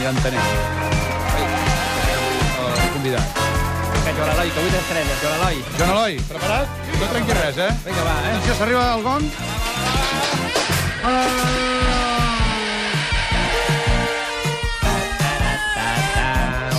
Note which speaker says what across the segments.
Speaker 1: ja entenem. Ai, deixem el convidat.
Speaker 2: Que Joan Eloi, que avui t'estrenes, Joan Eloi.
Speaker 1: Joan Eloi, preparat? No trenqui res, eh?
Speaker 2: Vinga, va, eh?
Speaker 1: Atenció, s'arriba el gong.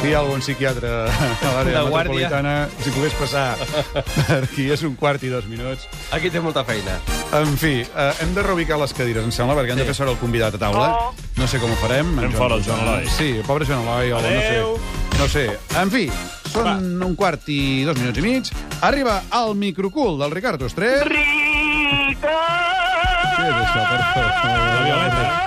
Speaker 1: Si hi ha algun psiquiatre a l'àrea
Speaker 3: De guàrdia.
Speaker 1: metropolitana, si pogués passar per aquí, és un quart i dos minuts.
Speaker 3: Aquí té molta feina.
Speaker 1: En fi, eh, hem de reubicar les cadires, em sembla, perquè hem de fer sobre el convidat a taula. No sé com ho farem. en
Speaker 4: Fem fora el Joan Eloi.
Speaker 1: Sí, el pobre Joan Eloi. o
Speaker 4: Adéu.
Speaker 1: No sé. no sé. En fi, són un quart i dos minuts i mig. Arriba al microcul del Ricard Ostré. Què és això, per favor? La Violeta.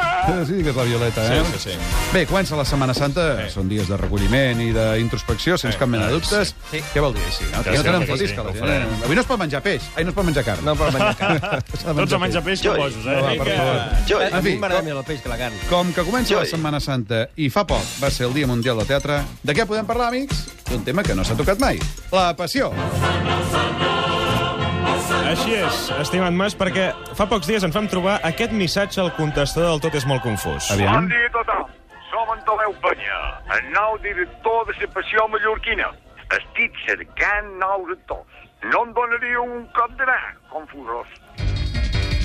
Speaker 1: Sí que és la Violeta, eh?
Speaker 4: Sí, sí, sí.
Speaker 1: Bé, comença la Setmana Santa, són dies de recolliment i d'introspecció, sense cap mena de dubtes.
Speaker 2: Sí.
Speaker 1: Què vol dir així? No,
Speaker 4: Que
Speaker 1: que no
Speaker 4: sí,
Speaker 1: tenen
Speaker 4: que
Speaker 1: fotis,
Speaker 4: sí,
Speaker 1: que la
Speaker 4: ho
Speaker 1: gent-
Speaker 4: farem.
Speaker 1: Avui no es pot menjar peix, ai, no es pot menjar carn.
Speaker 2: No per menjar carn.
Speaker 4: Tots a menjar peix que bojos, eh?
Speaker 1: Va, per favor.
Speaker 3: Jo,
Speaker 2: A
Speaker 1: En
Speaker 2: mi
Speaker 1: fi,
Speaker 2: m'agrada més el peix que la carn.
Speaker 1: Com que comença la
Speaker 3: Joi.
Speaker 1: Setmana Santa i fa poc va ser el Dia Mundial de Teatre, de què podem parlar, amics? D'un tema que no s'ha tocat mai. La passió.
Speaker 4: Així és, estimat Mas, perquè fa pocs dies ens vam trobar aquest missatge al contestador del Tot és molt confús.
Speaker 1: Aviam.
Speaker 5: Bon dia a tothom. Som Antoneu Penya, el nou director de la passió mallorquina. Estic cercant nous actors. No em donaria un cop de mà, confusós.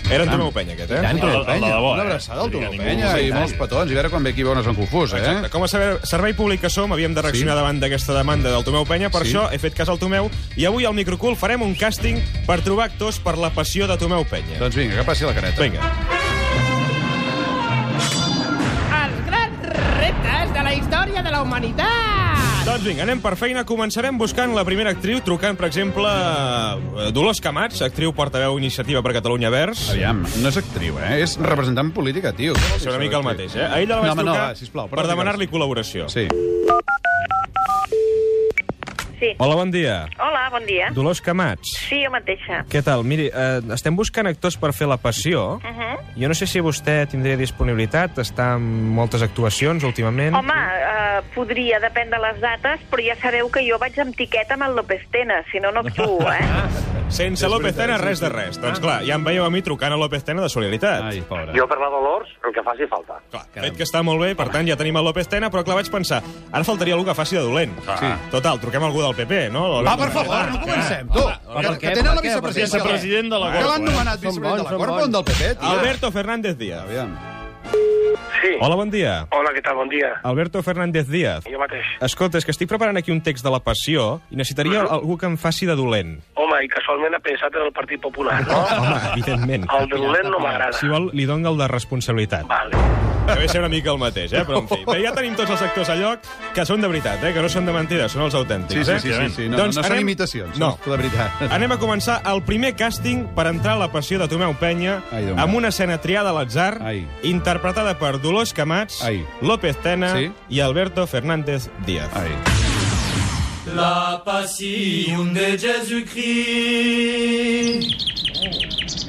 Speaker 4: Era Antoneu Penya, aquest, eh?
Speaker 1: Dani,
Speaker 4: El-
Speaker 1: Toni
Speaker 4: el de
Speaker 1: Penya,
Speaker 4: debò,
Speaker 1: una
Speaker 4: eh?
Speaker 1: abraçada al
Speaker 4: Vull dir
Speaker 1: Toni
Speaker 4: que ningú
Speaker 1: Penya
Speaker 4: ho
Speaker 1: i
Speaker 4: sent.
Speaker 1: molts petons, i a veure quan ve aquí veuen en confús, eh?
Speaker 4: Exacte. Com a saber, servei públic que som, havíem de reaccionar sí. davant d'aquesta demanda del Tomeu Penya, per
Speaker 1: Sí.
Speaker 4: sí. això he fet cas al Tomeu, i avui al Microcul farem un càsting per trobar actors per la passió de Tomeu Penya.
Speaker 1: Doncs vinga, que passi la careta.
Speaker 4: Vinga.
Speaker 6: Els grans reptes de la història de la humanitat!
Speaker 4: Doncs vinga, anem per feina. Començarem buscant la primera actriu, trucant, per exemple, a Dolors Camats, actriu portaveu Iniciativa per Catalunya Verds.
Speaker 1: Aviam, no és actriu, eh? És representant política, tio.
Speaker 4: És una mica el mateix, eh? A ella la vaig
Speaker 1: No, home, no,
Speaker 4: trucar
Speaker 1: va, sisplau, però
Speaker 4: per
Speaker 1: digues.
Speaker 4: demanar-li col·laboració.
Speaker 1: Sí.
Speaker 7: Sí.
Speaker 4: Hola, bon dia.
Speaker 7: Hola, bon dia.
Speaker 4: Dolors Camats.
Speaker 7: Sí, jo mateixa.
Speaker 4: Què tal? Miri, eh, estem buscant actors per fer La Passió.
Speaker 7: Uh -huh.
Speaker 4: Jo no sé si vostè tindria disponibilitat, està en moltes actuacions últimament.
Speaker 7: Home, eh, podria, depèn de les dates, però ja sabeu que jo vaig amb tiqueta amb el López Tena, si no, no actuo, eh?
Speaker 4: Sense López Tena, res de res. Doncs clar, ja em veieu a mi trucant a López Tena de solidaritat.
Speaker 1: Ai, pobra.
Speaker 5: Jo per la Dolors, el que faci falta.
Speaker 4: Clar, fet que està molt bé, per tant ja tenim el López Tena, però clar, vaig pensar, ara faltaria algú que faci de dolent.
Speaker 1: Sí.
Speaker 4: Total, truquem algú del PP, no?
Speaker 1: Va, Ah, per favor, no comencem, tu.
Speaker 2: per
Speaker 1: Que,
Speaker 2: què?
Speaker 1: que tenen
Speaker 2: Per
Speaker 1: la
Speaker 2: què?
Speaker 1: vicepresidència.
Speaker 4: Vicepresident de la
Speaker 1: Que
Speaker 4: Corpo,
Speaker 1: l'han
Speaker 4: eh?
Speaker 1: nomenat
Speaker 2: Són
Speaker 1: vicepresident de
Speaker 2: bons,
Speaker 1: la
Speaker 2: són
Speaker 1: Corpo,
Speaker 2: bons.
Speaker 1: un del PP, tio.
Speaker 4: Alberto Fernández Díaz.
Speaker 1: Aviam.
Speaker 5: Sí.
Speaker 4: Hola, Ah. bon dia.
Speaker 5: Hola, què tal? Bon dia.
Speaker 4: Alberto Fernández Díaz.
Speaker 5: Jo mateix.
Speaker 4: Escolta, és que estic preparant aquí un text de la passió i necessitaria algú que em faci de dolent.
Speaker 5: Home, i casualment ha pensat en el Partit Popular, no?
Speaker 4: Home, evidentment.
Speaker 5: El de dolent no m'agrada.
Speaker 4: Si vol, li dono el de responsabilitat.
Speaker 5: Vale.
Speaker 4: Que ve a ser una mica el mateix, eh? Però, en fi. Bé, ja tenim tots els actors a lloc que són de veritat, eh? Que no són de mentida, són els
Speaker 1: Sí,
Speaker 4: autèntics,
Speaker 1: sí,
Speaker 4: eh?
Speaker 1: sí, sí, sí. No,
Speaker 4: Doncs
Speaker 1: no, no són
Speaker 4: anem-
Speaker 1: imitacions,
Speaker 4: No.
Speaker 1: de veritat.
Speaker 4: Anem a començar el primer càsting per entrar a la passió de Tomeu Penya
Speaker 1: Ai, Déu meu.
Speaker 4: amb una escena triada a l'atzar,
Speaker 1: Ai.
Speaker 4: interpretada per Dolors Camats,
Speaker 1: Ai.
Speaker 4: López Tena
Speaker 1: Sí.
Speaker 4: i Alberto Fernández Díaz.
Speaker 1: Ai.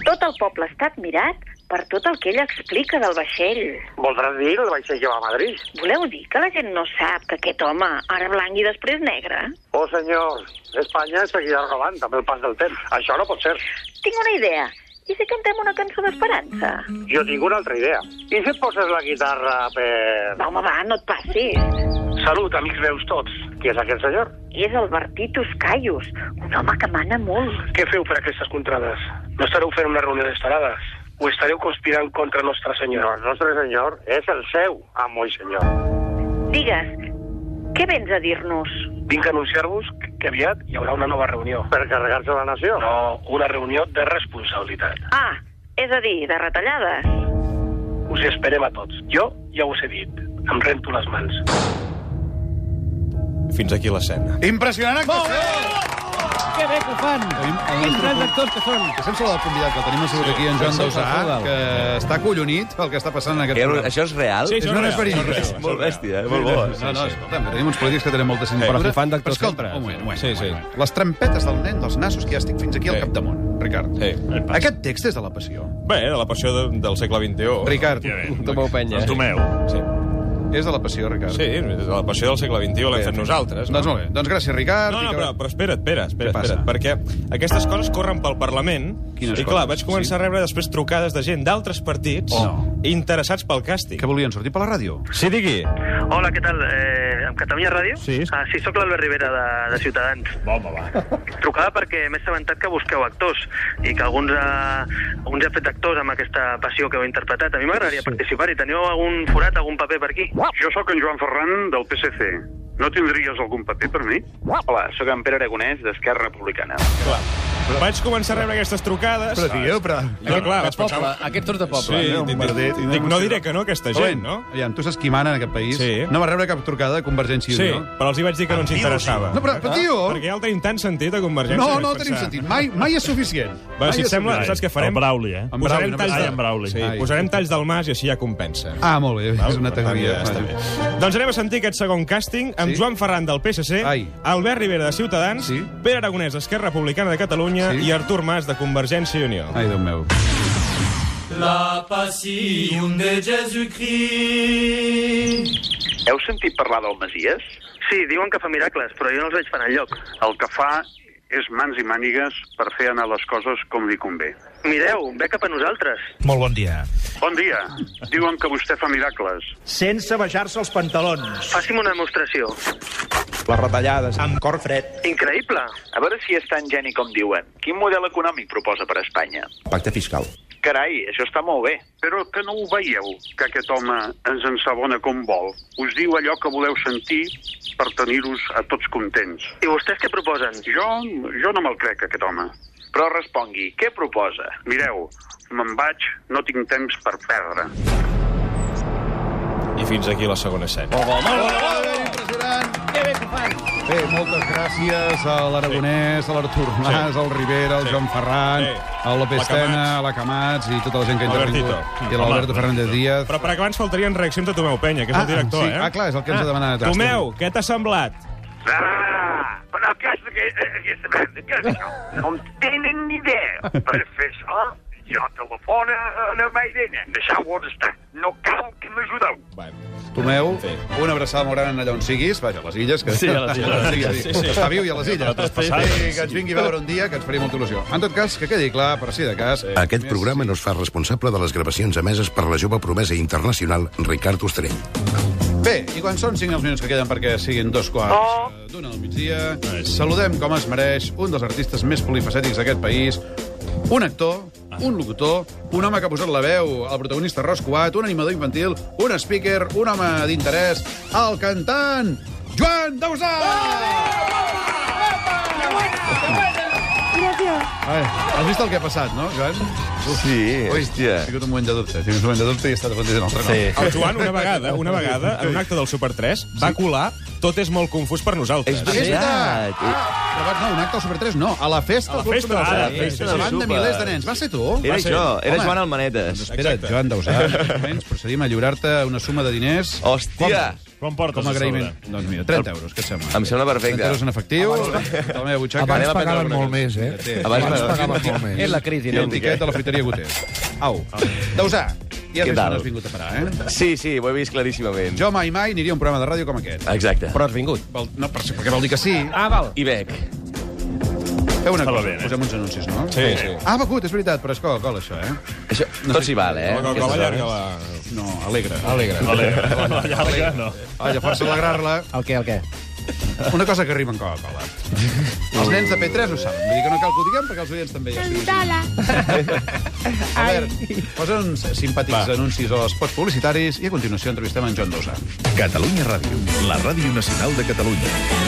Speaker 7: Tot el poble ha estat mirat per tot el que ell explica del vaixell.
Speaker 5: Voldràs dir que el vaig ser jo a Madrid?
Speaker 7: Voleu dir que la gent no sap que aquest home, ara blanc i després negre?
Speaker 5: Oh, senyor, Espanya seguirà robant també el pas del temps. Això no pot ser.
Speaker 7: Tinc una idea. I si cantem una cançó d'esperança?
Speaker 5: Jo tinc una altra idea. I si et poses la guitarra per...
Speaker 7: Va, home, va, no et passis.
Speaker 5: Salut, amics meus tots. Qui és aquest senyor?
Speaker 7: És el Bertitus Caius, un home que mana molt.
Speaker 5: Què feu per aquestes contrades? No estareu fent una reunió d'estarades? O estareu conspirant contra Nostre Senyor? No, el Nostre Senyor és el seu amo i senyor.
Speaker 7: Digues, què vens a dir-nos?
Speaker 5: Vinc a anunciar-vos que- que aviat hi haurà una nova reunió. Per carregar-se la nació? No, una reunió de responsabilitat.
Speaker 7: Ah, és a dir, de retallades.
Speaker 5: Us hi esperem a tots. Jo ja us he dit. Em rento les mans.
Speaker 4: Fins aquí l'escena.
Speaker 1: Impressionant actuació!
Speaker 2: Que bé que ho fan! Quins grans actors que són!
Speaker 1: Que Sense el convidat que el tenim assegut aquí, en Joan
Speaker 2: Sí, sí,
Speaker 1: Dausà,
Speaker 2: Salvador.
Speaker 1: que està acollonit pel que està passant en aquest programa.
Speaker 8: Això és real?
Speaker 4: Sí,
Speaker 1: És
Speaker 4: això
Speaker 1: una
Speaker 4: real,
Speaker 1: experiència.
Speaker 4: això real,
Speaker 1: És
Speaker 4: això
Speaker 8: molt
Speaker 4: real.
Speaker 8: bèstia, eh? Molt bo.
Speaker 1: No, no, escolta, però tenim uns polítics que tenen molta
Speaker 2: Però
Speaker 1: cintura.
Speaker 2: fer fan d'actors
Speaker 1: Però escolta,
Speaker 2: sempre.
Speaker 1: un moment, un moment.
Speaker 4: Sí,
Speaker 1: un
Speaker 4: sí.
Speaker 1: moment. Les trampetes del nen dels nassos, que ja estic fins aquí al
Speaker 4: Sí.
Speaker 1: capdamunt, Ricard.
Speaker 4: Sí.
Speaker 1: Aquest text és de la passió.
Speaker 4: Bé, de la passió de, del segle XXI.
Speaker 1: Ricard,
Speaker 4: Efectivament.
Speaker 2: Tomeu
Speaker 1: Eh?
Speaker 2: Penya.
Speaker 9: Doncs
Speaker 4: El Tomeu. Sí.
Speaker 1: és de la passió, Ricard.
Speaker 4: sí, de la passió del segle XXI l'hem fet nosaltres.
Speaker 1: Doncs molt bé. Doncs gràcies, Ricard.
Speaker 4: No,
Speaker 1: I
Speaker 4: no,
Speaker 1: que-
Speaker 4: però, però espera't, espera, espera,
Speaker 1: Què
Speaker 4: espera,
Speaker 1: passa?
Speaker 4: perquè aquestes coses corren pel Parlament
Speaker 1: Quines
Speaker 4: i clar,
Speaker 1: coses?
Speaker 4: vaig començar
Speaker 1: Sí.
Speaker 4: a rebre després trucades de gent d'altres partits
Speaker 1: Oh.
Speaker 4: interessats pel càsting.
Speaker 1: Que volien sortir per la ràdio.
Speaker 4: Sí, digui.
Speaker 3: Hola, què tal? Eh, amb Catalunya Ràdio?
Speaker 1: Sí.
Speaker 3: Ah, sí, sóc l'Albert Rivera de, de Ciutadans.
Speaker 1: Bomba, va.
Speaker 3: Trucava perquè m'he assabentat que busqueu actors i que alguns, eh, alguns heu fet actors amb aquesta passió que heu interpretat. A mi m'agradaria sí. participar i teniu algun forat, algun paper per aquí?
Speaker 5: Jo sóc en Joan Ferran, del PSC. No tindries algun paper per mi?
Speaker 8: Hola, sóc en Pere Aragonès, d'Esquerra Republicana.
Speaker 4: Clar. Vaig començar a rebre aquestes trucades.
Speaker 1: Però, tio, però...
Speaker 4: Jo, clar,
Speaker 9: de
Speaker 4: vaig pensar...
Speaker 9: poble, aquests tots de poble.
Speaker 4: Sí,
Speaker 1: no,
Speaker 4: dic,
Speaker 1: bombarder,
Speaker 4: dic, dic, no diré que no a aquesta gent, no?
Speaker 1: Aviam, tu saps qui mana en aquest país?
Speaker 4: Sí.
Speaker 1: No va rebre cap trucada de Convergència i
Speaker 4: Sí,
Speaker 1: Unió.
Speaker 4: però els hi vaig dir que no ens interessava.
Speaker 1: No, però, però, tio...
Speaker 4: Perquè ja el tenim tan sentit, a Convergència.
Speaker 1: No,
Speaker 4: que
Speaker 1: no
Speaker 4: vaig
Speaker 1: tenim
Speaker 4: pensar.
Speaker 1: sentit. Mai, mai és suficient.
Speaker 4: Va,
Speaker 1: Mai
Speaker 4: si
Speaker 1: és
Speaker 4: et sembla,
Speaker 1: suficient.
Speaker 4: saps què farem?
Speaker 10: El Brauli, eh?
Speaker 1: En
Speaker 4: Posarem
Speaker 1: Brauli,
Speaker 4: talls
Speaker 1: només-
Speaker 4: de...
Speaker 10: Ai, en Brauli.
Speaker 4: Sí,
Speaker 1: Ai.
Speaker 4: posarem talls del mas i així ja compensa.
Speaker 1: Ah, molt bé, és una
Speaker 4: Per tant,
Speaker 1: tecnologia.
Speaker 4: ja està
Speaker 1: Vaja.
Speaker 4: bé. Doncs anem a sentir aquest segon càsting amb
Speaker 1: Sí.
Speaker 4: sí? Joan Ferran del PSC,
Speaker 1: Ai.
Speaker 4: Albert Rivera de Ciutadans,
Speaker 1: Sí.
Speaker 4: sí? Pere Aragonès d'Esquerra Republicana de Catalunya
Speaker 1: Sí.
Speaker 4: sí? i Artur Mas de Convergència i Unió.
Speaker 1: Ai, Déu meu.
Speaker 8: Heu sentit parlar del Masies?
Speaker 3: Sí, diuen que fa miracles, però jo no els veig per enlloc.
Speaker 5: El que fa és mans i mànigues per fer anar les coses com li convé.
Speaker 3: Mireu, ve cap a nosaltres.
Speaker 9: Molt bon dia.
Speaker 5: Bon dia. Diuen que vostè fa miracles.
Speaker 2: Sense baixar-se els pantalons.
Speaker 3: Faci'm una demostració.
Speaker 9: Les retallades. Amb cor fred.
Speaker 3: Increïble.
Speaker 8: A veure si és tan geni com diuen. Quin model econòmic proposa per a Espanya?
Speaker 9: Pacte fiscal.
Speaker 8: Carai, això està molt bé.
Speaker 5: Però que no ho veieu, que aquest home ens ensabona com vol. Us diu allò que voleu sentir per tenir-vos a tots contents.
Speaker 3: I vostès què proposen?
Speaker 5: Jo, jo no me'l crec, aquest home.
Speaker 8: Però respongui, què proposa?
Speaker 5: Mireu, me'n vaig, no tinc temps per perdre.
Speaker 4: I fins aquí la segona escena.
Speaker 1: Molt bé, impressionant.
Speaker 6: Que bé que ho fan.
Speaker 1: Bé, moltes gràcies a l'Aragonès, a l'Artur Mas, al Rivera, al
Speaker 4: Sí.
Speaker 1: Joan Ferran,
Speaker 4: Sí.
Speaker 1: al
Speaker 4: La
Speaker 1: López
Speaker 4: Camats.
Speaker 1: Tena, a la Camats i tota la gent que ha
Speaker 4: Albertito.
Speaker 1: intervingut. I a l'Alberto Fernández Díaz.
Speaker 4: Però per acabar ens faltarien reaccions de Tomeu Penya, que és el director,
Speaker 1: sí.
Speaker 4: eh?
Speaker 1: Ah, clar, és el que ens ha demanat.
Speaker 4: Tomeu, què t'ha semblat?
Speaker 5: Ah, però aquesta, aquesta, aquesta, merda, què és això? No en tenen ni idea. Per fer això, jo telefona a la Mairena. Deixeu-ho estar. No cal que m'ajudeu.
Speaker 1: Tomeu,
Speaker 4: Sí.
Speaker 1: una abraçada molt gran allà on siguis. Vaja, a les illes. Que...
Speaker 10: Sí, a les illes.
Speaker 1: Sí, sí. Està viu i a les illes.
Speaker 10: les passades.
Speaker 1: Sí, que ens vingui a veure un dia, que ens faria molta il·lusió. En tot cas, que quedi clar, per si de cas...
Speaker 11: Aquest programa no es fa responsable de les gravacions emeses per la jove promesa internacional Ricard Ostrell.
Speaker 1: Bé, i quan són 5 els minuts que queden perquè siguin dos quarts
Speaker 7: Oh.
Speaker 1: eh, d'una al migdia, saludem com es mereix un dels artistes més polifacètics d'aquest país, un actor, un locutor, un home que ha posat la veu, el protagonista Roscoat, un animador infantil, un speaker, un home d'interès, el cantant Joan Dausà! Ai, has vist el que ha passat, no, Joan?
Speaker 9: Sí,
Speaker 1: Ui, he tingut un moment de dubte, he tingut un moment de dubte i he estat a punt de dir un altre nom.
Speaker 9: Sí.
Speaker 4: El Joan, una vegada, una vegada, en un acte del Super 3, va colar Tot és molt confús per
Speaker 1: Ah,
Speaker 4: nosaltres.
Speaker 1: és veritat! Ah, però abans no, un acte al Super 3 no, a la festa,
Speaker 4: A la
Speaker 1: del Club
Speaker 4: festa,
Speaker 1: Super 3.
Speaker 4: ara, sí, sí, sí.
Speaker 1: davant de
Speaker 9: Super.
Speaker 1: milers de nens. Va ser tu?
Speaker 9: Era
Speaker 1: Va ser.
Speaker 9: jo, era
Speaker 1: Home,
Speaker 9: Joan Almanetes.
Speaker 1: Espera't,
Speaker 4: Exacte.
Speaker 1: Joan Dausà, almenys procedim a lliurar-te una suma de diners
Speaker 9: Hòstia!
Speaker 10: Com portes
Speaker 1: com
Speaker 10: a
Speaker 1: a
Speaker 10: sobre?
Speaker 1: agraïment. Doncs mira, 30 euros, què et sembla?
Speaker 9: Em sembla
Speaker 1: 30
Speaker 9: perfecte.
Speaker 1: euros en efectiu, de la meva butxaca.
Speaker 9: Abans pagaven molt
Speaker 1: més, eh?
Speaker 9: Abans pagaven
Speaker 1: molt més.
Speaker 9: És la crisi,
Speaker 1: I el tiquet de la friteria Guter. Au, Dausà, ja has
Speaker 9: Què
Speaker 1: vist
Speaker 9: tal?
Speaker 1: on has vingut a parar, eh?
Speaker 9: Sí, sí, ho he vist claríssimament.
Speaker 1: Jo mai, mai aniria a un programa de ràdio com aquest.
Speaker 9: Exacte.
Speaker 10: Però has vingut.
Speaker 1: Vol- No, per- perquè vol dir que sí.
Speaker 10: Ah, val.
Speaker 9: I bec.
Speaker 1: Feu una
Speaker 10: Estava
Speaker 1: cosa,
Speaker 10: bé, eh?
Speaker 1: posem uns anuncis, no?
Speaker 4: Sí, sí.
Speaker 1: Ah, begut, és veritat, però és Coca-Cola, això, eh?
Speaker 9: Això, tot s'hi val, eh?
Speaker 4: La Coca-Cola llarga la...
Speaker 1: No, alegre.
Speaker 4: Alegre.
Speaker 10: La llarga, no.
Speaker 1: Vaja, força alegrar-la.
Speaker 2: El què, el què?
Speaker 1: Una cosa que rima amb Coca-Cola. Els nens de P3 ho saben. Vull dir que no cal que ho diguem perquè els oients també ja ho saben. A veure, posa uns simpàtics anuncis o spots publicitaris i a continuació entrevistem en Joan Dosa.
Speaker 11: Catalunya Ràdio, la ràdio nacional de Catalunya.